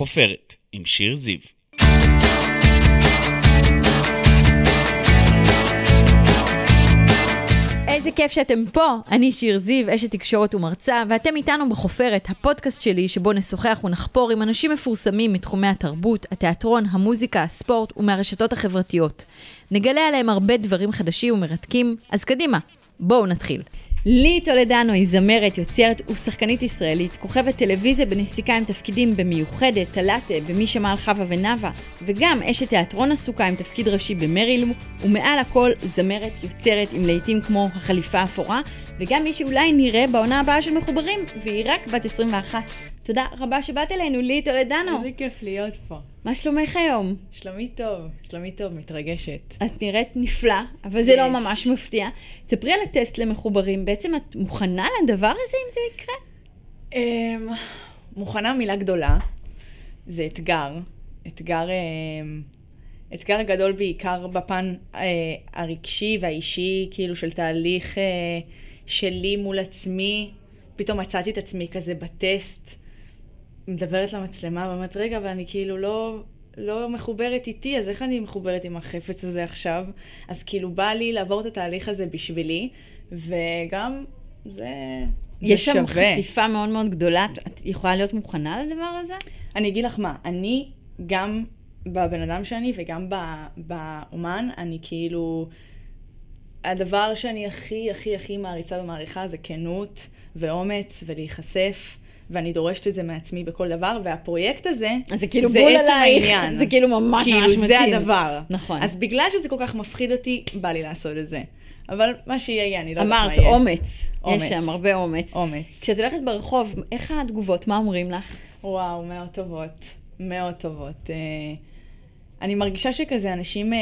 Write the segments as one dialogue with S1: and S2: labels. S1: החופרת, עם שיר זיו.
S2: איזה כיף שאתם פה! אני שיר זיו, אשת תקשורת ומרצה, ואתם איתנו בחופרת, הפודקאסט שלי, שבו נשוחח ונחפור עם אנשים מפורסמים מתחומי התרבות, התיאטרון, המוזיקה, הספורט ומהרשתות החברתיות. נגלה עליהם הרבה דברים חדשים ומרתקים, אז קדימה, בואו נתחיל. לי טולדנו היא זמרת, יוצרת ושחקנית ישראלית, כוכבת טלוויזיה בנסיקה עם תפקידים במיוחדת, טלטה, במי שמע על חווה ונאווה, וגם אשת תיאטרון עסוקה עם תפקיד ראשי במרילום, ומעל הכל זמרת, יוצרת עם להיטים כמו החליפה האפורה, וגם מי שאולי נראה בעונה הבאה של מחוברים, והיא רק בת 21. תודה רבה שבאת אלינו, לי טולדנו.
S3: איזה כיף להיות פה.
S2: מה שלומך היום?
S3: שלומי טוב, שלומי טוב, מתרגשת.
S2: את נראית נפלא, אבל זה
S3: יש.
S2: לא ממש מפתיע. תספרי על הטסט למחוברים, בעצם את מוכנה לדבר הזה אם זה יקרה?
S3: אמ, מוכנה מילה גדולה, זה אתגר. אתגר, אמ, אתגר גדול בעיקר בפן אה, הרגשי והאישי, כאילו של תהליך אה, שלי מול עצמי. פתאום מצאתי את עצמי כזה בטסט, מדברת למצלמה, ואומרת, רגע, אבל אני כאילו לא, לא מחוברת איתי, אז איך אני מחוברת עם החפץ הזה עכשיו? אז כאילו בא לי לעבור את התהליך הזה בשבילי, וגם זה... זה
S2: יש שם
S3: שווה.
S2: חשיפה מאוד מאוד גדולה, את- את יכולה להיות מוכנה לדבר הזה?
S3: אני אגיד לך מה, אני גם בבן אדם שאני וגם ב- באומן, אני כאילו... הדבר שאני הכי הכי הכי מעריצה ומעריכה זה כנות ואומץ ולהיחשף, ואני דורשת את זה מעצמי בכל דבר, והפרויקט הזה,
S2: אז זה כאילו בול
S3: עצם
S2: עלייך,
S3: העניין.
S2: זה כאילו ממש
S3: כאילו
S2: ממש
S3: זה
S2: מתאים.
S3: הדבר.
S2: נכון.
S3: אז בגלל שזה כל כך מפחיד אותי, בא לי לעשות את זה. אבל מה שיהיה, אני לא יודעת מה
S2: אמרת
S3: יהיה.
S2: אומץ, יש
S3: אומץ.
S2: שם הרבה אומץ.
S3: אומץ.
S2: כשאת הולכת ברחוב, איך התגובות, מה אומרים לך?
S3: וואו, מאוד טובות. מאוד טובות. אה, אני מרגישה שכזה אנשים אה,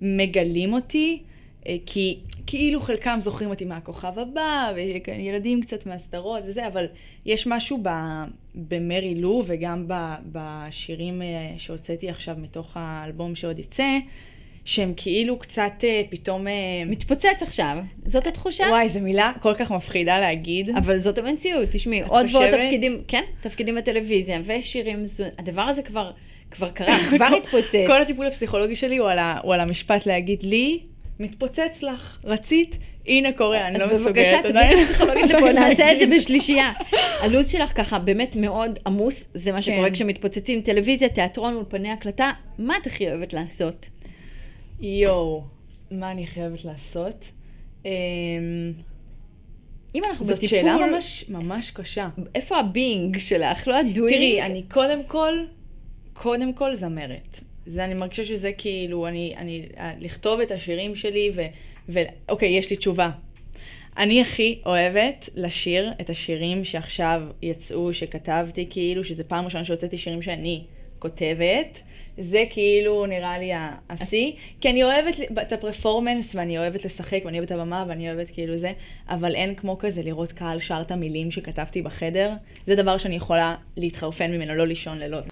S3: מגלים אותי, אה, כי כאילו חלקם זוכרים אותי מהכוכב הבא, וילדים קצת מהסדרות וזה, אבל יש משהו ב, במרי לו וגם ב, בשירים אה, שהוצאתי עכשיו מתוך האלבום שעוד יצא, שהם כאילו קצת אה, פתאום... אה,
S2: מתפוצץ עכשיו, זאת התחושה?
S3: וואי, זו מילה כל כך מפחידה להגיד.
S2: אבל זאת המציאות, תשמעי,
S3: את
S2: עוד ועוד
S3: חושבת?
S2: תפקידים, כן, תפקידים בטלוויזיה ושירים, זו- הדבר הזה כבר, כבר קרה, כבר התפוצץ.
S3: כל הטיפול הפסיכולוגי שלי הוא על, ה, הוא על המשפט להגיד לי, מתפוצץ לך, רצית, הנה קורה, אני לא
S2: אז
S3: מסוגלת
S2: בבקשה,
S3: עדיין. לא
S2: תביאי את הפסיכולוגית לפה,
S3: עדיין
S2: נעשה את זה
S3: להגיד.
S2: בשלישייה. הלו"ז שלך ככה באמת מאוד עמוס, זה מה שקורה
S3: כן.
S2: כשמתפוצצים טלוויזיה, תיאטרון, אולפני הקלטה, מה את הכי אוהבת לעשות?
S3: יואו, מה אני חייבת לעשות? אמ,
S2: אם אנחנו
S3: זאת
S2: בטיפול,
S3: שאלה ממש, ממש קשה.
S2: איפה הבינג שלך, לא הדוינג?
S3: תראי, אני קודם כל, קודם כל זמרת. זה, אני מרגישה שזה כאילו, אני, אני, אה, לכתוב את השירים שלי ו... ו אוקיי, יש לי תשובה. אני הכי אוהבת לשיר את השירים שעכשיו יצאו, שכתבתי, כאילו, שזה פעם ראשונה שהוצאתי שירים שאני כותבת. זה כאילו נראה לי ה- השיא, כי אני אוהבת ל- את הפרפורמנס ואני אוהבת לשחק ואני אוהבת את הבמה ואני אוהבת כאילו זה, אבל אין כמו כזה לראות קהל שר את המילים שכתבתי בחדר, זה דבר שאני יכולה להתחרפן ממנו, לא לישון לילות.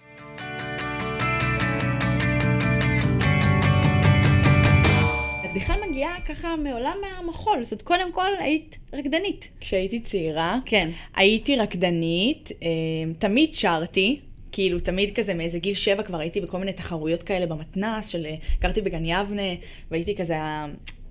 S2: את בכלל מגיעה ככה מעולם המחול, זאת אומרת, קודם כל היית רקדנית.
S3: כשהייתי צעירה,
S2: כן.
S3: הייתי רקדנית, אה, תמיד שרתי. כאילו, תמיד כזה, מאיזה גיל שבע כבר הייתי בכל מיני תחרויות כאלה במתנ"ס, של... אה, גרתי בגן יבנה, והייתי כזה ה-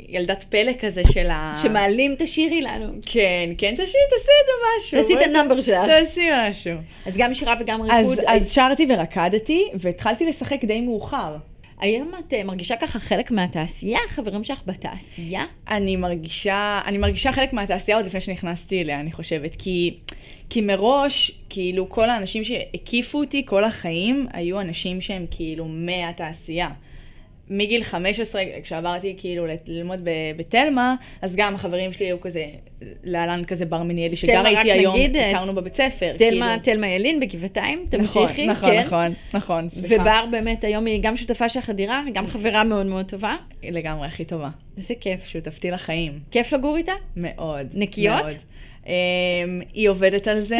S3: ילדת פלא כזה של ה...
S2: שמעלים תשאירי לנו.
S3: כן, כן, תשאי, תעשי איזה משהו.
S2: תעשי את
S3: בואי,
S2: הנאמבר שלך.
S3: תעשי משהו.
S2: אז גם שירה וגם ריקוד.
S3: אז, אז שרתי ורקדתי, והתחלתי לשחק די מאוחר.
S2: היום את אה, מרגישה ככה חלק מהתעשייה? החברים שלך בתעשייה?
S3: אני מרגישה, אני מרגישה חלק מהתעשייה עוד לפני שנכנסתי אליה, אני חושבת. כי, כי מראש, כאילו, כל האנשים שהקיפו אותי כל החיים, היו אנשים שהם כאילו מהתעשייה. מגיל 15, כשעברתי כאילו ל- ללמוד ב- בתלמה, אז גם החברים שלי היו כזה, להלן כזה בר מניאלי, שגר
S2: תלמה, רק
S3: איתי היום,
S2: נגיד, אה,
S3: הכרנו בבית ספר.
S2: תלמה,
S3: כאילו.
S2: תלמה ילין בגבעתיים,
S3: נכון,
S2: תמשיכי,
S3: נכון,
S2: כן.
S3: נכון, נכון, סליחה.
S2: ובר באמת היום היא גם שותפה שלך לדירה, גם חברה מאוד מאוד טובה.
S3: לגמרי, הכי טובה.
S2: איזה כיף.
S3: שותפתי לחיים.
S2: כיף לגור איתה?
S3: מאוד.
S2: נקיות?
S3: מאוד. אמ, היא עובדת על זה.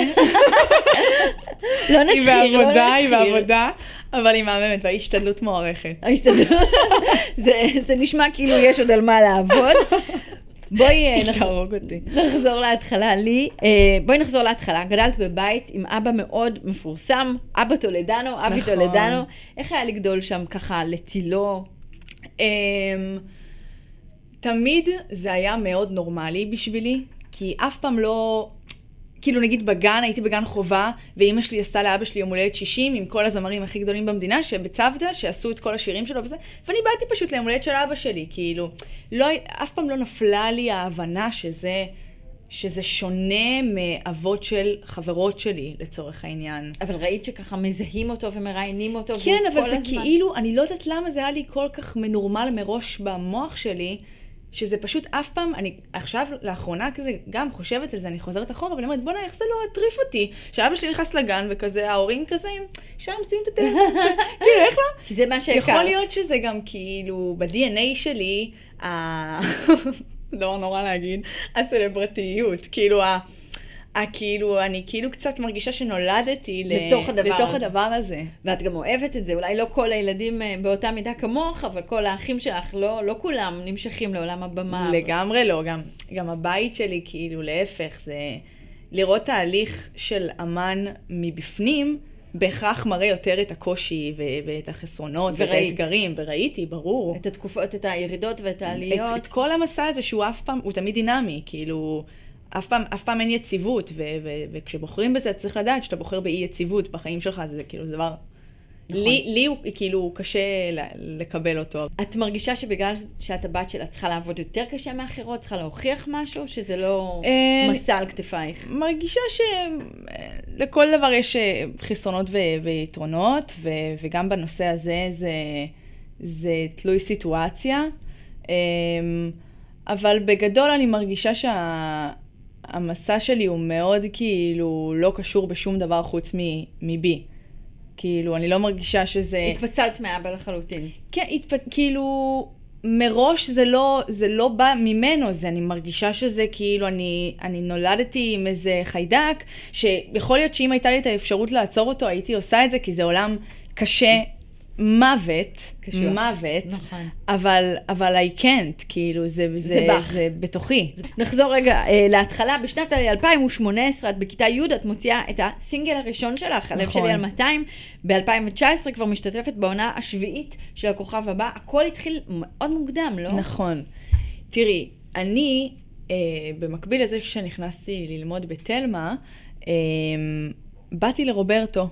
S2: לא
S3: היא
S2: נשחיר, לא נשחיר.
S3: בעבודה, היא בעבודה, אבל היא מהממת והיא השתדלות מוערכת.
S2: ההשתדלות. זה- זה נשמע כאילו יש עוד על מה לעבוד. בואי אה, נח-
S3: תהרוג אותי.
S2: נחזור להתחלה, לי. אה, בואי נחזור להתחלה. גדלת בבית עם אבא מאוד מפורסם, אבא טולדנו, אבי
S3: נכון.
S2: טולדנו. איך היה לגדול שם ככה, לצילו?
S3: אמ, תמיד זה היה מאוד נורמלי בשבילי, כי אף פעם לא... כאילו נגיד בגן, הייתי בגן חובה, ואימא שלי עשתה לאבא שלי יום הולדת 60 עם כל הזמרים הכי גדולים במדינה, שבצוותא, שעשו את כל השירים שלו וזה, ואני באתי פשוט ליום הולדת של אבא שלי, כאילו, לא, הי- אף פעם לא נפלה לי ההבנה שזה, שזה שונה מאבות של חברות שלי, לצורך העניין.
S2: אבל ראית שככה מזהים אותו ומראיינים אותו.
S3: כן,
S2: והוא
S3: אבל
S2: כל
S3: זה
S2: הזמן-
S3: כאילו, אני לא יודעת למה זה היה לי כל כך מנורמל מראש במוח שלי, שזה פשוט אף פעם, אני עכשיו, לאחרונה כזה, גם חושבת על זה, אני חוזרת אחורה, ואני אומרת, בואנה, איך זה לא הטריף אותי? שאבא שלי נכנס לגן, וכזה, ההורים כזה, שם ממציאים את הטלפון, כאילו, איך לא?
S2: כי זה מה שהכרת.
S3: יכול להיות שזה גם כאילו, ב-DNA שלי, ה... דבר נורא להגיד, הסלברטיות, כאילו ה... ה- כאילו, אני כאילו קצת מרגישה שנולדתי ל-
S2: לתוך הדבר
S3: לתוך
S2: הזה.
S3: הדבר הזה.
S2: ואת גם אוהבת את זה, אולי לא כל הילדים אה, באותה מידה כמוך, אבל כל האחים שלך, לא, לא כולם נמשכים לעולם הבמה.
S3: לגמרי לא, גם, גם הבית שלי, כאילו, להפך, זה לראות תהליך של אמן מבפנים, בהכרח מראה יותר את הקושי ו- ואת החסרונות ואת
S2: וראית.
S3: האתגרים, וראיתי, ברור.
S2: את התקופות, את הירידות ואת העליות.
S3: את, את כל המסע הזה שהוא אף פעם, הוא תמיד דינמי, כאילו, אף פעם, אף פעם אין יציבות, ו- ו- וכשבוחרים בזה, אתה צריך לדעת שאתה בוחר באי יציבות בחיים שלך, זה כאילו זה דבר...
S2: נכון.
S3: לי, לי הוא כאילו קשה ל- לקבל אותו.
S2: את מרגישה שבגלל שאת הבת שלה צריכה לעבוד יותר קשה מאחרות, צריכה להוכיח משהו, שזה לא
S3: אה,
S2: מסע על כתפייך?
S3: מרגישה שלכל דבר יש אה, חסרונות ו- ויתרונות, ו- וגם בנושא הזה זה, זה תלוי סיטואציה. אמ, אבל בגדול אני מרגישה שהמסע שלי הוא מאוד כאילו לא קשור בשום דבר חוץ מ- מבי. כאילו, אני לא מרגישה שזה...
S2: התפצלת מאבא לחלוטין.
S3: כן, התפ... כאילו, מראש זה לא, זה לא בא ממנו, זה אני מרגישה שזה כאילו, אני, אני נולדתי עם איזה חיידק, שיכול להיות שאם הייתה לי את האפשרות לעצור אותו, הייתי עושה את זה, כי זה עולם קשה מוות,
S2: קשוח.
S3: מוות,
S2: נכון.
S3: אבל, אבל I can't, כאילו, זה, זה,
S2: זה בך.
S3: זה בתוכי.
S2: נחזור רגע אה, להתחלה. בשנת 2018, את בכיתה י', את מוציאה את הסינגל הראשון שלך, הלב
S3: נכון.
S2: שלי על 200. ב-2019 כבר משתתפת בעונה השביעית של הכוכב הבא. הכל התחיל מאוד מוקדם, לא?
S3: נכון. תראי, אני, אה, במקביל לזה כשנכנסתי ללמוד בתלמה, אה, באתי לרוברטו,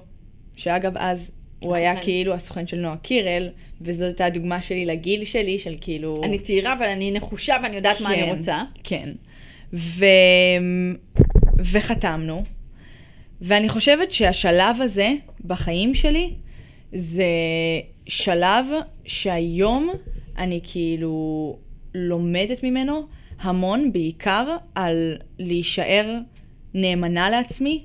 S3: שאגב, אז הוא היה
S2: הסוכן.
S3: כאילו הסוכן של נועה קירל, וזאת הייתה הדוגמה שלי לגיל שלי, של כאילו...
S2: אני צעירה, אבל אני נחושה ואני יודעת מה אני
S3: כן,
S2: רוצה.
S3: כן. ו... וחתמנו, ואני חושבת שהשלב הזה בחיים שלי, זה שלב שהיום אני כאילו לומדת ממנו המון, בעיקר על להישאר נאמנה לעצמי,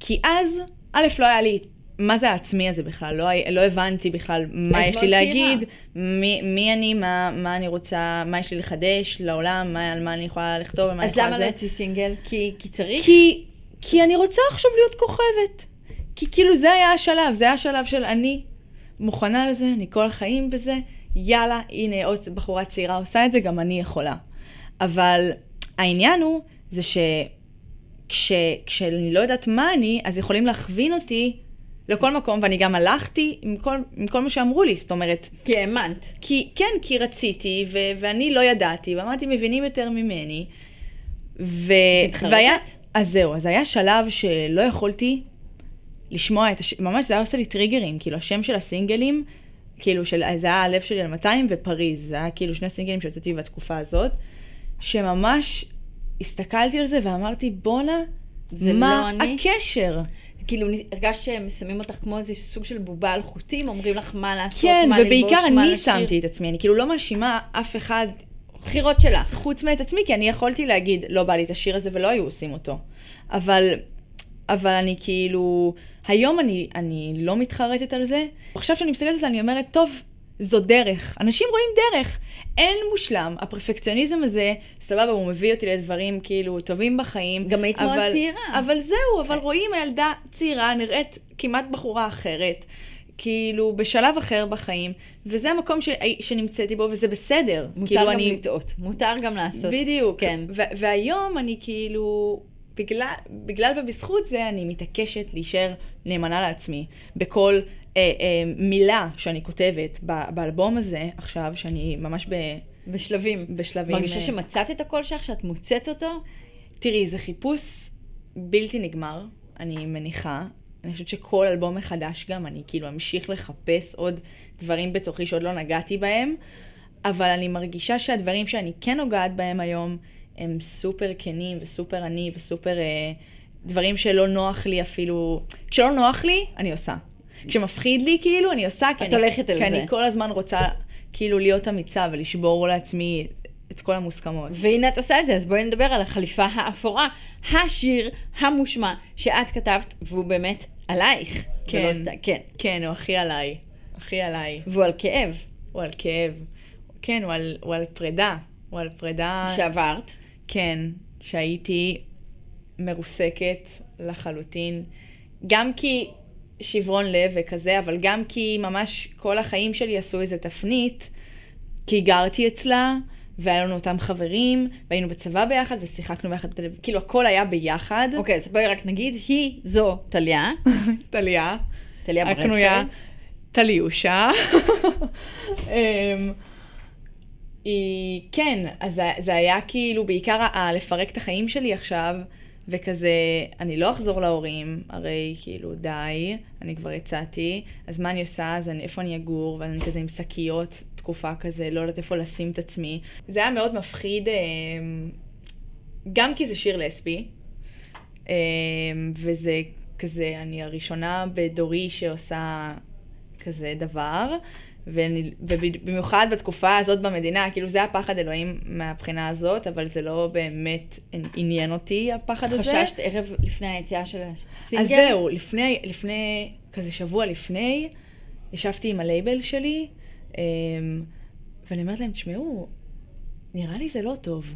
S3: כי אז, א', לא היה לי... מה זה העצמי הזה בכלל? לא, הי- לא הבנתי בכלל מה
S2: היית
S3: יש לי
S2: מאוד צעירה.
S3: להגיד, מי, מי אני, מה, מה אני רוצה, מה יש לי לחדש לעולם, מה, על מה אני יכולה לכתוב ומה
S2: אז
S3: אני יכולה
S2: למה
S3: זה.
S2: לא יוציא סינגל? כי כי צריך?
S3: כי, כי אני רוצה עכשיו להיות כוכבת. כי כאילו זה היה השלב, זה היה השלב של אני מוכנה לזה, אני כל החיים בזה, יאללה, הנה עוד בחורה צעירה עושה את זה, גם אני יכולה. אבל העניין הוא, זה שכשאני לא יודעת מה אני, אז יכולים להכווין אותי לכל מקום, ואני גם הלכתי עם כל, עם כל מה שאמרו לי, זאת אומרת,
S2: כי האמנת.
S3: כי, כן, כי רציתי, ו- ואני לא ידעתי, ואמרתי, מבינים יותר ממני. ו-
S2: מתחרטת?
S3: והיה, אז זהו, אז היה שלב שלא יכולתי לשמוע את השם, ממש זה היה עושה לי טריגרים, כאילו השם של הסינגלים, כאילו של, זה היה הלב שלי על 200 ופריז, זה היה כאילו שני סינגלים שהוצאתי בתקופה הזאת, שממש הסתכלתי על זה ואמרתי, בואנה,
S2: זה
S3: מה
S2: לא אני."
S3: הקשר?
S2: כאילו, נ- הרגשת שהם שמים אותך כמו איזה סוג של בובה על חוטים, אומרים לך מה לעשות,
S3: כן,
S2: מה ללבוש,
S3: ובעיקר
S2: מה
S3: אני
S2: לשיר.
S3: שמתי את עצמי, אני כאילו לא מאשימה אף אחד
S2: בחירות שלך.
S3: חוץ מאת עצמי, כי אני יכולתי להגיד, לא בא לי את השיר הזה ולא היו עושים אותו. אבל, אבל אני כאילו, היום אני, אני לא מתחרטת על זה. עכשיו שאני מסתכלת על זה, אני אומרת, טוב, זו דרך. אנשים רואים דרך. אין מושלם. הפרפקציוניזם הזה, סבבה, הוא מביא אותי לדברים כאילו טובים בחיים.
S2: גם היית מאוד
S3: אבל-
S2: צעירה. כן.
S3: אבל זהו, אבל רואים ילדה צעירה נראית כמעט בחורה אחרת. כאילו בשלב אחר בחיים, וזה המקום ש... שנמצאתי בו, וזה בסדר.
S2: מותר
S3: כאילו
S2: גם
S3: אני...
S2: לטעות, מותר גם לעשות.
S3: בדיוק.
S2: כן.
S3: ו- והיום אני כאילו, בגלל, בגלל ובזכות זה, אני מתעקשת להישאר נאמנה לעצמי בכל אה, אה, מילה שאני כותבת ב- באלבום הזה עכשיו, שאני ממש ב...
S2: בשלבים.
S3: בשלבים,
S2: מרגישה
S3: אה,
S2: שמצאת את הקול שלך, שאת מוצאת אותו?
S3: תראי, זה חיפוש בלתי נגמר, אני מניחה. אני חושבת שכל אלבום מחדש גם, אני כאילו אמשיך לחפש עוד דברים בתוכי שעוד לא נגעתי בהם, אבל אני מרגישה שהדברים שאני כן נוגעת בהם היום, הם סופר כנים וסופר אני וסופר אה, דברים שלא נוח לי אפילו. כשלא נוח לי, אני עושה. כשמפחיד לי, כאילו, אני עושה, כי
S2: את
S3: אני,
S2: הולכת על
S3: כי
S2: זה.
S3: אני כל הזמן רוצה כאילו להיות אמיצה ולשבור לעצמי את כל המוסכמות.
S2: והנה את עושה את זה, אז בואי נדבר על החליפה האפורה, השיר המושמע שאת כתבת, והוא באמת עלייך.
S3: כן.
S2: ולא סתם- כן.
S3: כן, הוא הכי עליי. הכי עליי.
S2: והוא על כאב
S3: הוא על כאב. כן, הוא על, הוא על פרידה. הוא על פרידה...
S2: שעברת.
S3: כן, שהייתי מרוסקת לחלוטין. גם כי שברון לב וכזה, אבל גם כי ממש כל החיים שלי עשו איזה תפנית, כי גרתי אצלה, והיה לנו אותם חברים, והיינו בצבא ביחד, ושיחקנו ביחד, בטלו- כאילו הכל היה ביחד.
S2: אוקיי, אז בואי רק נגיד, היא זו טליה,
S3: טליה.
S2: טליה
S3: הקנויה
S2: ברנפלד.
S3: אה, טליושה. אמ, היא, כן, אז זה- זה היה כאילו בעיקר ה- ה- לפרק את החיים שלי עכשיו, וכזה, אני לא אחזור להורים, הרי כאילו די, אני כבר יצאתי, אז מה אני עושה, אז אני, איפה אני אגור, ואז אני כזה עם שקיות תקופה כזה, לא יודעת איפה לשים את עצמי. זה היה מאוד מפחיד, אמ, גם כי זה שיר לסבי, אמ, וזה כזה, אני הראשונה בדורי שעושה כזה דבר, ואני- וב- במיוחד בתקופה הזאת במדינה, כאילו זה היה פחד אלוהים מהבחינה הזאת, אבל זה לא באמת עניין אותי הפחד הזה.
S2: חששת ערב לפני היציאה של הסינגל?
S3: אז זהו, לפני, לפני, כזה שבוע לפני, ישבתי עם הלייבל שלי, אמ, ואני אומרת להם, תשמעו, נראה לי זה לא טוב.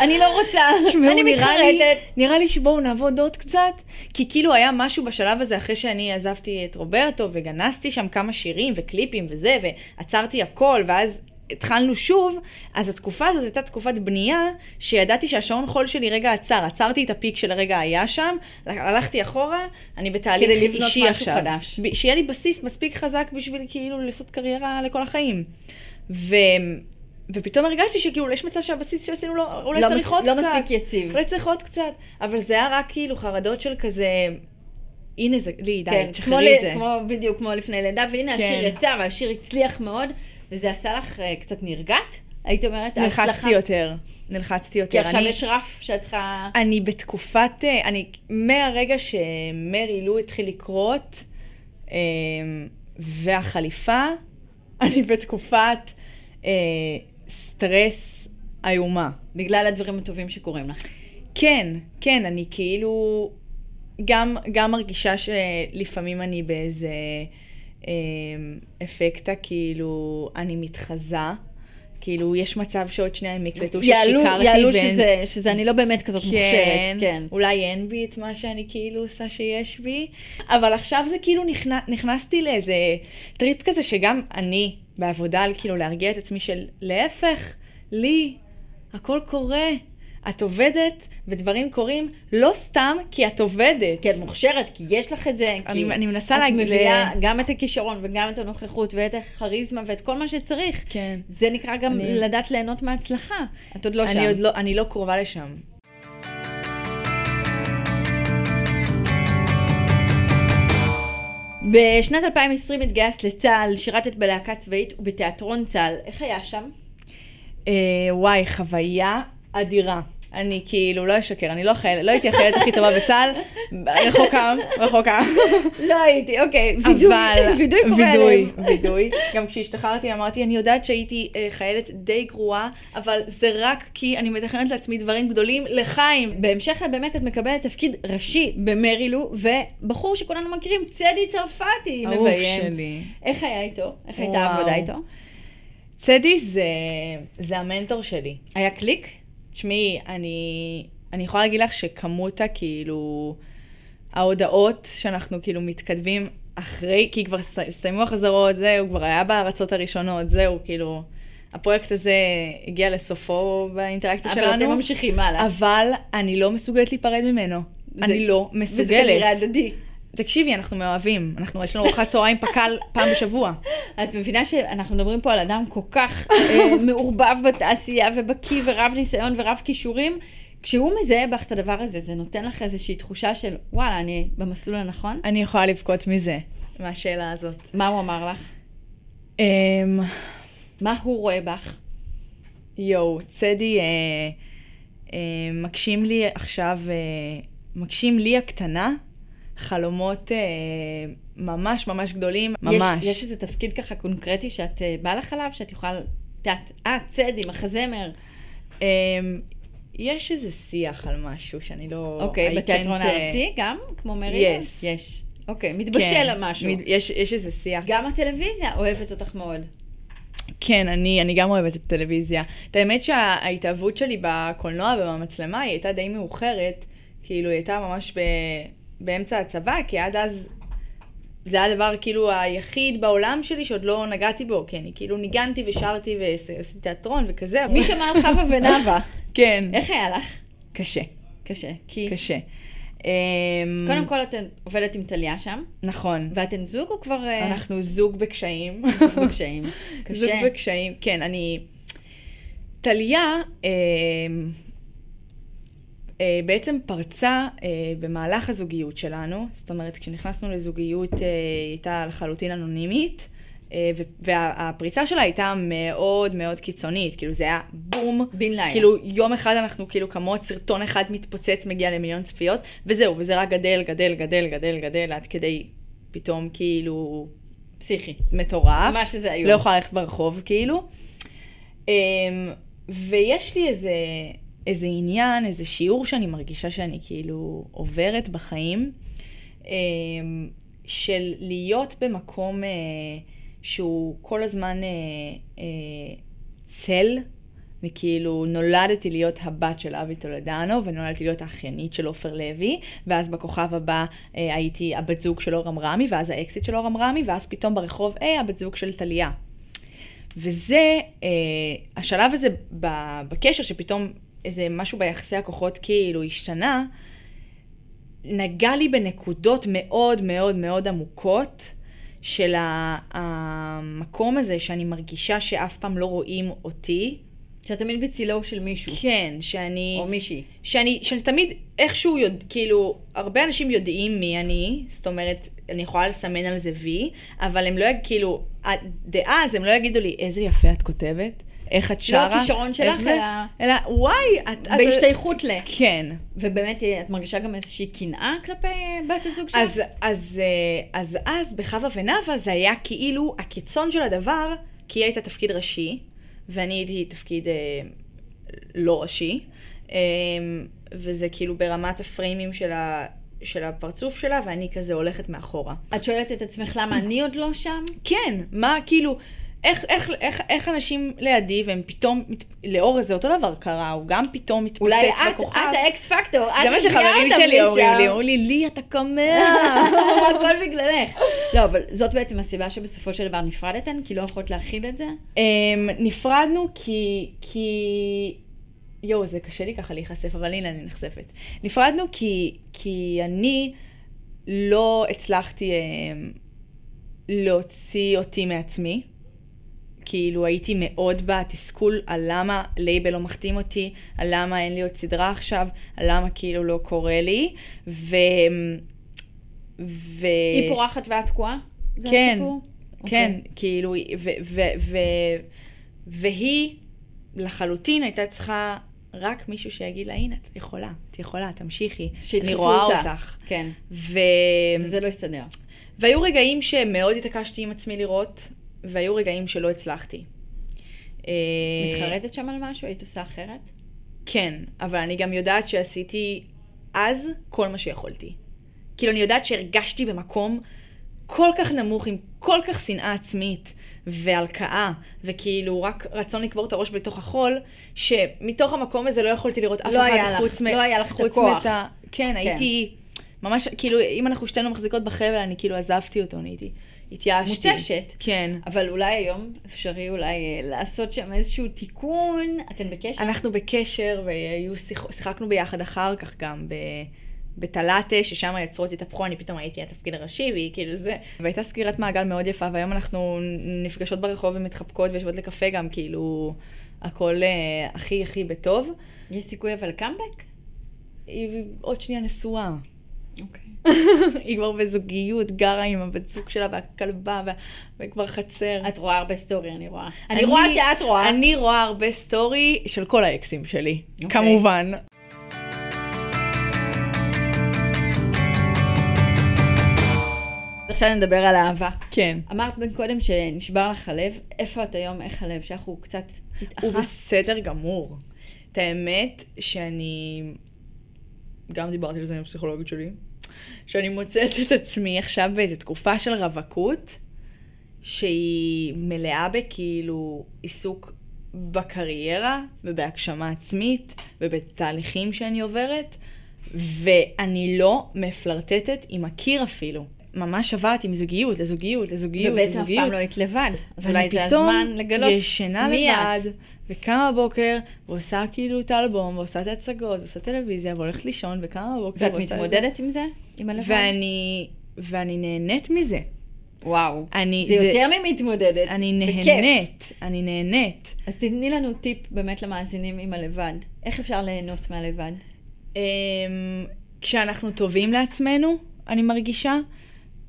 S2: אני לא רוצה,
S3: תשמעו,
S2: אני
S3: נראה לי-
S2: מתחרטת.
S3: נראה לי שבואו נעבוד עוד קצת, כי כאילו היה משהו בשלב הזה, אחרי שאני עזבתי את רוברטו, וגנסתי שם כמה שירים וקליפים וזה, ועצרתי הכל, ואז... התחלנו שוב, אז התקופה הזאת הייתה תקופת בנייה, שידעתי שהשעון חול שלי רגע עצר, עצרתי את הפיק של הרגע היה שם, הלכתי אחורה, אני בתהליך
S2: כדי
S3: אישי
S2: לבנות
S3: עכשיו.
S2: משהו חדש.
S3: ב- שיהיה לי בסיס מספיק חזק בשביל כאילו לעשות קריירה לכל החיים. ו... ופתאום הרגשתי שכאילו יש מצב שהבסיס שעשינו לא, אולי
S2: לא
S3: צריך
S2: מס-
S3: עוד
S2: לא
S3: קצת.
S2: מספיק יציב.
S3: אולי צריך עוד קצת. אבל זה היה רק כאילו חרדות של כזה, הנה זה, לי, די,
S2: כן, כמו,
S3: תשחררי את זה.
S2: כמו, בדיוק כמו לפני לידה, והנה
S3: כן.
S2: השיר יצא, והשיר הצליח מאוד, וזה עשה לך אה, קצת נרגעת, היית אומרת,
S3: נלחצתי
S2: ההצלחה.
S3: יותר, נלחצתי יותר.
S2: כי עכשיו
S3: אני-
S2: יש רף שאת צריכה...
S3: אני בתקופת, אה, אני, מהרגע שמרי לו התחיל לקרות, אה, והחליפה, אני בתקופת אה, סטרס איומה.
S2: בגלל הדברים הטובים שקורים לך.
S3: כן, כן, אני כאילו גם, גם מרגישה שלפעמים אני באיזה אה, אפקטה, כאילו, אני מתחזה. כאילו, יש מצב שעוד שנייה הם יקלטו ששיקרתי
S2: יעלו, יעלו
S3: ואין-
S2: שזה, שזה אני לא באמת כזאת מוכשרת, כן.
S3: אולי אין בי את מה שאני כאילו עושה שיש בי, אבל עכשיו זה כאילו נכנ... נכנסתי לאיזה טריפ כזה שגם אני בעבודה על כאילו להרגיע את עצמי של להפך, לי, הכל קורה. את עובדת ודברים קורים לא סתם כי את עובדת.
S2: כי את מוכשרת, כי יש לך את זה,
S3: אני-
S2: כי
S3: אני מנסה
S2: כן. את
S3: להג-
S2: מביאה גם את הכישרון וגם את הנוכחות ואת הכריזמה ואת כל מה שצריך.
S3: כן.
S2: זה נקרא גם
S3: אני-
S2: לדעת ליהנות מההצלחה. את עוד לא שם.
S3: אני עוד לא, אני לא קרובה לשם.
S2: בשנת 2020 התגייסת לצה"ל, שירתת בלהקה צבאית ובתיאטרון צה"ל. איך היה שם?
S3: אה, וואי, חוויה אדירה. אני כאילו לא אשקר, אני לא חיילת, לא הייתי החיילת הכי טובה בצה"ל, רחוקה, רחוקה.
S2: לא הייתי, אוקיי. וידוי,
S3: אבל...
S2: וידוי קורה
S3: וידוי,
S2: עליהם.
S3: וידוי. גם כשהשתחררתי אמרתי, אני יודעת שהייתי אה, חיילת די גרועה, אבל זה רק כי אני מתכננת לעצמי דברים גדולים לחיים.
S2: בהמשך באמת את מקבלת תפקיד ראשי במרילו, ובחור שכולנו מכירים, צדי צרפתי,
S3: אהוב
S2: מביים.
S3: שלי.
S2: איך היה איתו? איך הייתה
S3: וואו.
S2: העבודה איתו?
S3: צדי זה, זה המנטור שלי.
S2: היה קליק?
S3: תשמעי, אני, אני יכולה להגיד לך שכמות הכאילו, ההודעות שאנחנו כאילו מתכתבים, אחרי, כי כבר הסת- הסתיימו החזרות, זהו, כבר היה בהרצות הראשונות, זהו, כאילו, הפרויקט הזה הגיע לסופו באינטראקציה
S2: אבל
S3: שלנו.
S2: אתם ממשיכים הלאה.
S3: אבל אני לא מסוגלת להיפרד ממנו.
S2: זה-
S3: אני לא
S2: וזה כנראה
S3: מסוגלת.
S2: הדדי.
S3: תקשיבי, אנחנו מאוהבים. אנחנו, יש לנו ארוחת צהריים פק"ל פעם בשבוע.
S2: את מבינה שאנחנו מדברים פה על אדם כל כך אה, מעורבב בתעשייה ובקיא ורב ניסיון ורב כישורים, כשהוא מזהה בך את הדבר הזה, זה נותן לך איזושהי תחושה של וואלה, אני במסלול הנכון?
S3: אני יכולה לבכות מזה, מהשאלה הזאת.
S2: מה הוא אמר לך?
S3: אמ,
S2: מה הוא רואה בך?
S3: יואו, צדי אה, אה, מגשים לי עכשיו, אה, מגשים לי הקטנה, חלומות אה, ממש ממש גדולים, ממש.
S2: יש, יש איזה תפקיד ככה קונקרטי שאת אה, בא לך עליו, שאת יכולה... את יודעת, אה, צדי, מחזמר.
S3: אמ, יש איזה שיח על משהו שאני לא...
S2: אוקיי,
S3: I
S2: בתיאטרון
S3: can't, אה,
S2: הארצי גם? כמו מרי?
S3: Yes.
S2: יש. אוקיי,
S3: כן,
S2: מתבשל על משהו.
S3: מד- יש, יש איזה שיח.
S2: גם הטלוויזיה אוהבת אותך מאוד.
S3: כן, אני, אני גם אוהבת את הטלוויזיה. את האמת שההתאהבות שלי בקולנוע ובמצלמה היא הייתה די מאוחרת, כאילו היא הייתה ממש ב, באמצע הצבא, כי עד אז זה היה הדבר כאילו היחיד בעולם שלי שעוד לא נגעתי בו, כי אני כאילו ניגנתי ושרתי ועשיתי תיאטרון וכזה. אבל-
S2: מי שמע על חווה ונאווה?
S3: כן,
S2: איך היה לך?
S3: קשה,
S2: קשה. כי...
S3: קשה. אמ,
S2: קודם כל, את עובדת עם טליה שם,
S3: נכון.
S2: ואתן זוג או כבר... אה,
S3: אנחנו זוג בקשיים.
S2: זוג בקשיים? קשה.
S3: זוג בקשיים, כן, אני... טליה אה, אה, בעצם פרצה אה, במהלך הזוגיות שלנו, זאת אומרת, כשנכנסנו לזוגיות אה, היא הייתה לחלוטין אנונימית, אה, ו- והפריצה שלה הייתה מאוד מאוד קיצונית, כאילו זה היה בום.
S2: בן לילה.
S3: כאילו יום אחד אנחנו כאילו כמוות, סרטון אחד מתפוצץ, מגיע למיליון צפיות, וזהו, וזה רק גדל, גדל, גדל, גדל, גדל, עד כדי פתאום כאילו
S2: פסיכי.
S3: מטורף.
S2: מה שזה היום.
S3: לא יכולה ללכת ברחוב, כאילו. אמ, ויש לי איזה, איזה עניין, איזה שיעור שאני מרגישה שאני כאילו עוברת בחיים, אמ, של להיות במקום אה, שהוא כל הזמן אה, אה, צל. אני כאילו נולדתי להיות הבת של אבי טולדנו, ונולדתי להיות האחיינית של עופר לוי, ואז בכוכב הבא אה, הייתי הבת זוג של אורם רמי, ואז האקסיט של אורם רמי, ואז פתאום ברחוב, אה, הבת זוג של טליה. וזה, אה, השלב הזה ב- בקשר, שפתאום איזה משהו ביחסי הכוחות כאילו השתנה, נגע לי בנקודות מאוד מאוד מאוד עמוקות של ה- המקום הזה שאני מרגישה שאף פעם לא רואים אותי.
S2: שאת תמיד בצילו של מישהו,
S3: כן, שאני...
S2: או מישהי.
S3: שאני, שאני תמיד איכשהו, יודע, כאילו, הרבה אנשים יודעים מי אני, זאת אומרת, אני יכולה לסמן על זה וי, אבל הם לא, יג- כאילו, עד- דאז הם לא יגידו לי, איזה יפה את כותבת, איך את שרה.
S2: לא הכישרון שלך,
S3: איך זה?" אלא, וואי, את... את-
S2: בהשתייכות ל...
S3: כן.
S2: ובאמת, אה, את מרגישה גם איזושהי קנאה כלפי אה, בת הזוג שלך?
S3: אז, אז, אה, אז אז בחווה ונאווה זה היה כאילו הקיצון של הדבר, כי היא הייתה תפקיד ראשי, ואני הייתי תפקיד אה, לא ראשי, אה, וזה כאילו ברמת הפריימים של, ה, של הפרצוף שלה, ואני כזה הולכת מאחורה.
S2: את שואלת את עצמך למה אני עוד לא שם?
S3: כן, מה כאילו, איך, איך, איך, איך אנשים לידי, והם פתאום, מת, לאור זה אותו דבר קרה, הוא גם פתאום מתפוצץ
S2: אולי את,
S3: בכוכב.
S2: את האקס פקטור, את
S3: זה מה שחברים
S2: מביאה אותם
S3: שלי אומרים
S2: לשם.
S3: לי, אומרים לי, לי אתה קמע.
S2: הכל בגללך. לא, אבל זאת בעצם הסיבה שבסופו של דבר נפרדתן, כי לא יכולת להכיל את זה?
S3: אמ, נפרדנו כי... כי... יואו, זה קשה לי ככה להיחשף, אבל הנה אני נחשפת. נפרדנו כי, כי אני לא הצלחתי אמ, להוציא אותי מעצמי. כאילו הייתי מאוד בתסכול על למה לייבל לא מחתים אותי, על למה אין לי עוד סדרה עכשיו, על למה כאילו לא קורה לי. ו... ו...
S2: היא פורחת ואת תקועה? זה
S3: אה, כן,
S2: הסיפור?
S3: כן,
S2: אוקיי.
S3: כאילו, היא- ו- ו- ו- והיא לחלוטין הייתה צריכה רק מישהו שיגיד לה, הנה, את יכולה, את יכולה, תמשיכי. אני
S2: שידחפו
S3: רואה
S2: אותה.
S3: אותך. אמ,
S2: כן.
S3: ו...
S2: וזה לא הסתדר.
S3: והיו רגעים שמאוד התעקשתי עם עצמי לראות, והיו רגעים שלא הצלחתי. אה,
S2: מתחרטת שם על משהו? היית עושה אחרת?
S3: כן, אבל אני גם יודעת שעשיתי אז כל מה שיכולתי. כאילו, אני יודעת שהרגשתי במקום כל כך נמוך, עם כל כך שנאה עצמית והלקאה, וכאילו רק רצון לקבור את הראש בתוך החול, שמתוך המקום הזה לא יכולתי לראות אף
S2: לא
S3: אחד
S2: היה לך-
S3: חוץ מ...
S2: לא היה לך את
S3: חוץ
S2: הכוח.
S3: מאת ה- כן, הייתי ממש, כאילו, אם אנחנו שתינו מחזיקות בחבל, אני כאילו עזבתי אותו, אני הייתי, התייאשתי.
S2: מותשת.
S3: כן.
S2: אבל אולי היום אפשרי אולי אה, לעשות שם איזשהו תיקון. אתן בקשר?
S3: אנחנו בקשר, והיו שיח... שיחקנו ביחד אחר כך גם ב... בתלאטה, ששם היוצרות התהפכו, אני פתאום הייתי התפקיד הראשי, והיא כאילו זה. והייתה סגירת מעגל מאוד יפה, והיום אנחנו נפגשות ברחוב ומתחבקות ויושבות לקפה גם, כאילו, הכל אה, הכי הכי בטוב.
S2: יש סיכוי אבל קאמבק?
S3: היא עוד שנייה נשואה.
S2: אוקיי.
S3: היא כבר בזוגיות, גרה עם הבת זוג שלה והכלבה, וה... וכבר חצר.
S2: את רואה הרבה סטורי, אני רואה. אני רואה שאת רואה.
S3: אני רואה הרבה סטורי של כל האקסים שלי, כמובן.
S2: עכשיו נדבר על אהבה.
S3: כן.
S2: אמרת בין קודם שנשבר לך הלב, איפה את היום, איך הלב שלך הוא קצת
S3: הוא
S2: התאחה?
S3: בסדר גמור. את האמת שאני... גם דיברתי על זה עם הפסיכולוגית שלי, שאני מוצאת את עצמי עכשיו באיזו תקופה של רווקות, שהיא מלאה בכאילו עיסוק בקריירה ובהגשמה עצמית ובתהליכים שאני עוברת, ואני לא מפלרטטת עם הקיר אפילו. ממש עברתי מזוגיות לזוגיות לזוגיות
S2: ובעצם אף
S3: לזוגיות.
S2: פעם לא היית לבד, אז
S3: ואני
S2: אולי זה
S3: פתאום
S2: הזמן לגלות
S3: ישנה
S2: מי
S3: לבד,
S2: את.
S3: וקמה בבוקר, ועושה כאילו את האלבום, ועושה את ההצגות, ועושה טלוויזיה, והולכת לישון, וקמה בבוקר,
S2: ואת
S3: ועושה את
S2: מתמודדת עם זה? עם
S3: זה.
S2: הלבד?
S3: ואני, ואני נהנית מזה.
S2: וואו.
S3: אני,
S2: זה יותר ממתמודדת.
S3: אני
S2: זה כיף.
S3: נהנית, אני נהנית.
S2: אז תתני לנו טיפ באמת למאזינים עם הלבד. איך אפשר ליהנות מהלבד?
S3: אמ, כשאנחנו טובים לעצמנו, אני מרגישה,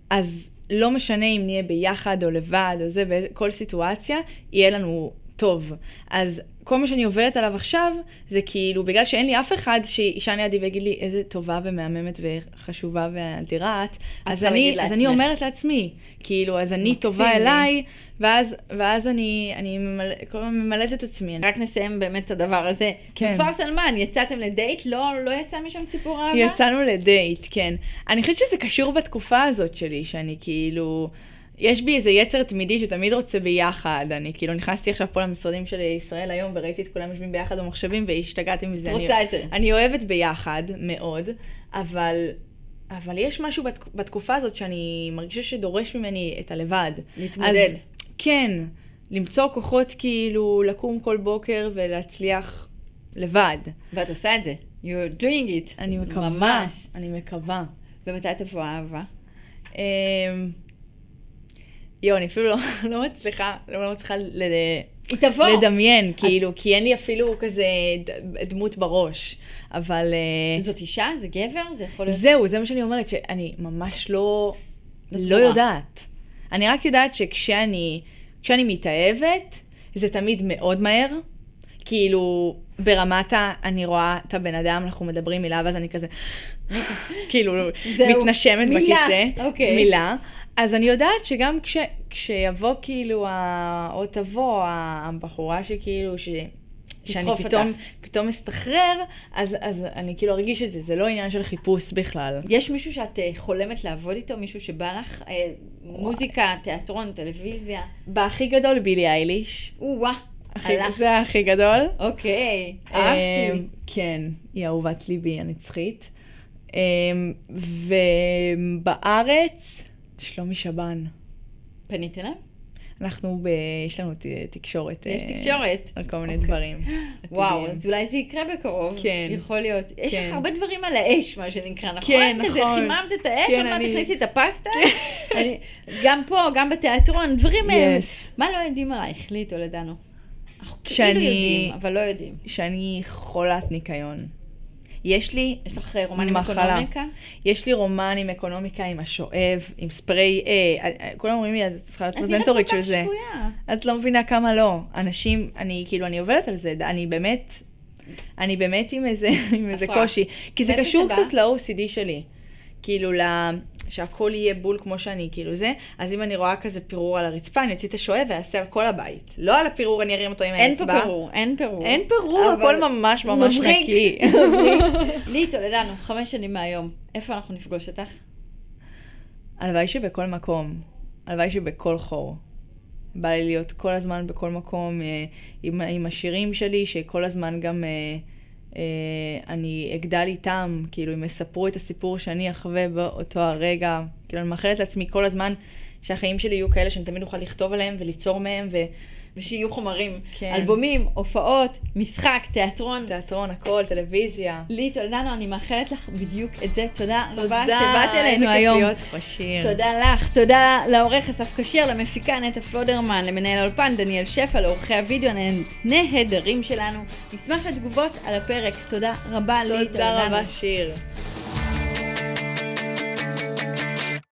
S3: אז לא משנה אם נהיה ביחד או לבד או זה, בכל סיטואציה, יהיה לנו טוב. אז כל מה שאני עוברת עליו עכשיו, זה כאילו, בגלל שאין לי אף אחד שישן לידי ויגיד לי איזה טובה ומהממת וחשובה ואדירה את, אז
S2: צריכה
S3: אני,
S2: להגיד
S3: אז אני
S2: לעצמך.
S3: אומרת לעצמי, כאילו, אז אני
S2: מקסים אה.
S3: טובה
S2: לי.
S3: אליי, ואז, ואז אני, אני ממלא, כל הזמן ממלאת את עצמי.
S2: רק נסיים באמת את הדבר הזה.
S3: כן.
S2: כפר סלמן, יצאתם לדייט? לא, לא יצא משם סיפור אהבה?
S3: יצאנו לדייט, כן. אני חושבת שזה קשור בתקופה הזאת שלי, שאני כאילו... יש בי איזה יצר תמידי שתמיד רוצה ביחד. אני כאילו נכנסתי עכשיו פה למשרדים של ישראל היום וראיתי את כולם יושבים ביחד במחשבים והשתגעתי מזה.
S2: את
S3: אני-
S2: רוצה את זה.
S3: אני אוהבת ביחד מאוד, אבל... אבל יש משהו בת, בתקופה הזאת שאני מרגישה שדורש ממני את הלבד.
S2: להתמודד.
S3: אז, כן, למצוא כוחות כאילו לקום כל בוקר ולהצליח לבד.
S2: ואת עושה את זה. You're doing it.
S3: אני מקווה.
S2: ממש.
S3: אני מקווה.
S2: ומתי תבוא האהבה?
S3: אמ, יואו, אני אפילו לא, לא מצליחה, לא, לא מצליחה ל,
S2: היא תבוא.
S3: לדמיין, כאילו, כי אין לי אפילו כזה ד, דמות בראש. אבל אה,
S2: זאת אישה? זה גבר? זה יכול להיות...
S3: זהו, זה מה שאני אומרת, שאני ממש לא,
S2: לא
S3: לא
S2: סגורה.
S3: יודעת. אני רק יודעת שכשאני כשאני מתאהבת, זה תמיד מאוד מהר. כאילו, ברמת ה... אני רואה את הבן אדם, אנחנו מדברים מילה, ואז אני כזה... כאילו,
S2: זהו.
S3: מתנשמת
S2: מילה,
S3: בכיסא.
S2: אוקיי.
S3: מילה. אז אני יודעת שגם כש, כשיבוא כאילו, ה, או תבוא הבחורה שכאילו, ש, שאני
S2: תסחוף
S3: פתאום,
S2: אותך.
S3: פתאום אסתחרר, אז, אז אני כאילו ארגיש את זה, זה לא עניין של חיפוש בכלל.
S2: יש מישהו שאת אה, חולמת לעבוד איתו? מישהו שבא לך? אה, מוזיקה, תיאטרון, טלוויזיה?
S3: בהכי גדול בילי אייליש.
S2: או-אה,
S3: הכי-
S2: הלך.
S3: זה הכי גדול.
S2: אוקיי, אהבתי.
S3: אמ, כן, היא אהובת ליבי הנצחית. אמ, ובארץ, שלומי שבן.
S2: פנית אליו?
S3: אנחנו, ב... יש לנו ת... תקשורת.
S2: יש
S3: אה,
S2: תקשורת.
S3: על כל מיני
S2: אוקיי.
S3: דברים.
S2: וואו,
S3: עתידיים.
S2: אז אולי זה יקרה בקרוב.
S3: כן.
S2: יכול להיות. יש לך
S3: כן.
S2: הרבה דברים על האש, מה שנקרא, נכון?
S3: כן,
S2: כזה
S3: נכון.
S2: חיממת את האש,
S3: כן,
S2: עוד מעט
S3: אני- כן.
S2: תכניסי את הפסטה. אני- גם פה, גם בתיאטרון, דברים... אה,
S3: Yes.
S2: מה לא יודעים עלייך, לי טולדנו? אנחנו כאילו
S3: שאני-
S2: יודעים, אבל לא יודעים.
S3: שאני חולת ניקיון. יש לי
S2: יש לך אה, רומן עם
S3: מחלה.
S2: אקונומיקה?
S3: יש לי רומן עם אקונומיקה, עם השואב, עם ספרי, אה, אה, אה, כולם אומרים לי, אז את צריכה להיות
S2: את נראית כל
S3: פרזנטורית של
S2: כך
S3: זה.
S2: שפויה.
S3: את לא מבינה כמה לא. אנשים, אני כאילו, אני עובדת על זה, אני באמת, אני באמת עם איזה, עם איזה
S2: הפרעה.
S3: קושי. כי זה
S2: מאיפה
S3: קשור
S2: זה בא?
S3: קצת ל-OCD שלי. כאילו, ל... שהכל יהיה בול כמו שאני, כאילו זה. אז אם אני רואה כזה פירור על הרצפה, אני אוציא את השואב ואעשה על כל הבית. לא על הפירור, אני ארים אותו עם
S2: אין פה
S3: האצבע.
S2: פירור, אין פירור.
S3: אין פירור,
S2: אבל-
S3: הכל ממש ממש
S2: מבריק.
S3: נקי.
S2: מבריק. לי טולדנו, חמש שנים מהיום. איפה אנחנו נפגוש אותך?
S3: הלוואי שבכל מקום, הלוואי שבכל חור. בא לי להיות כל הזמן בכל מקום אה, עם, עם השירים שלי, שכל הזמן גם אה, אה, אני אגדל איתם, כאילו, הם יספרו את הסיפור שאני אחווה באותו הרגע. כאילו, אני מאחלת לעצמי כל הזמן שהחיים שלי יהיו כאלה שאני תמיד אוכל לכתוב עליהם וליצור מהם,
S2: ושיהיו חומרים.
S3: כן.
S2: אלבומים, הופעות, משחק, תיאטרון.
S3: ותיאטרון, הכל, טלוויזיה.
S2: לי, תולדנו, אני מאחלת לך בדיוק את זה. תודה רבה
S3: תודה,
S2: שבאת אלינו היום.
S3: איזה כיף להיות פה, שיר.
S2: תודה לך, תודה לעורך אסף כשיר, למפיקה נטע פלודרמן, למנהל האולפן דניאל שפע, לעורכי הוידאו הנהדרים שלנו. נשמח לתגובות על הפרק. תודה רבה לי,
S3: תודה רבה, שיר.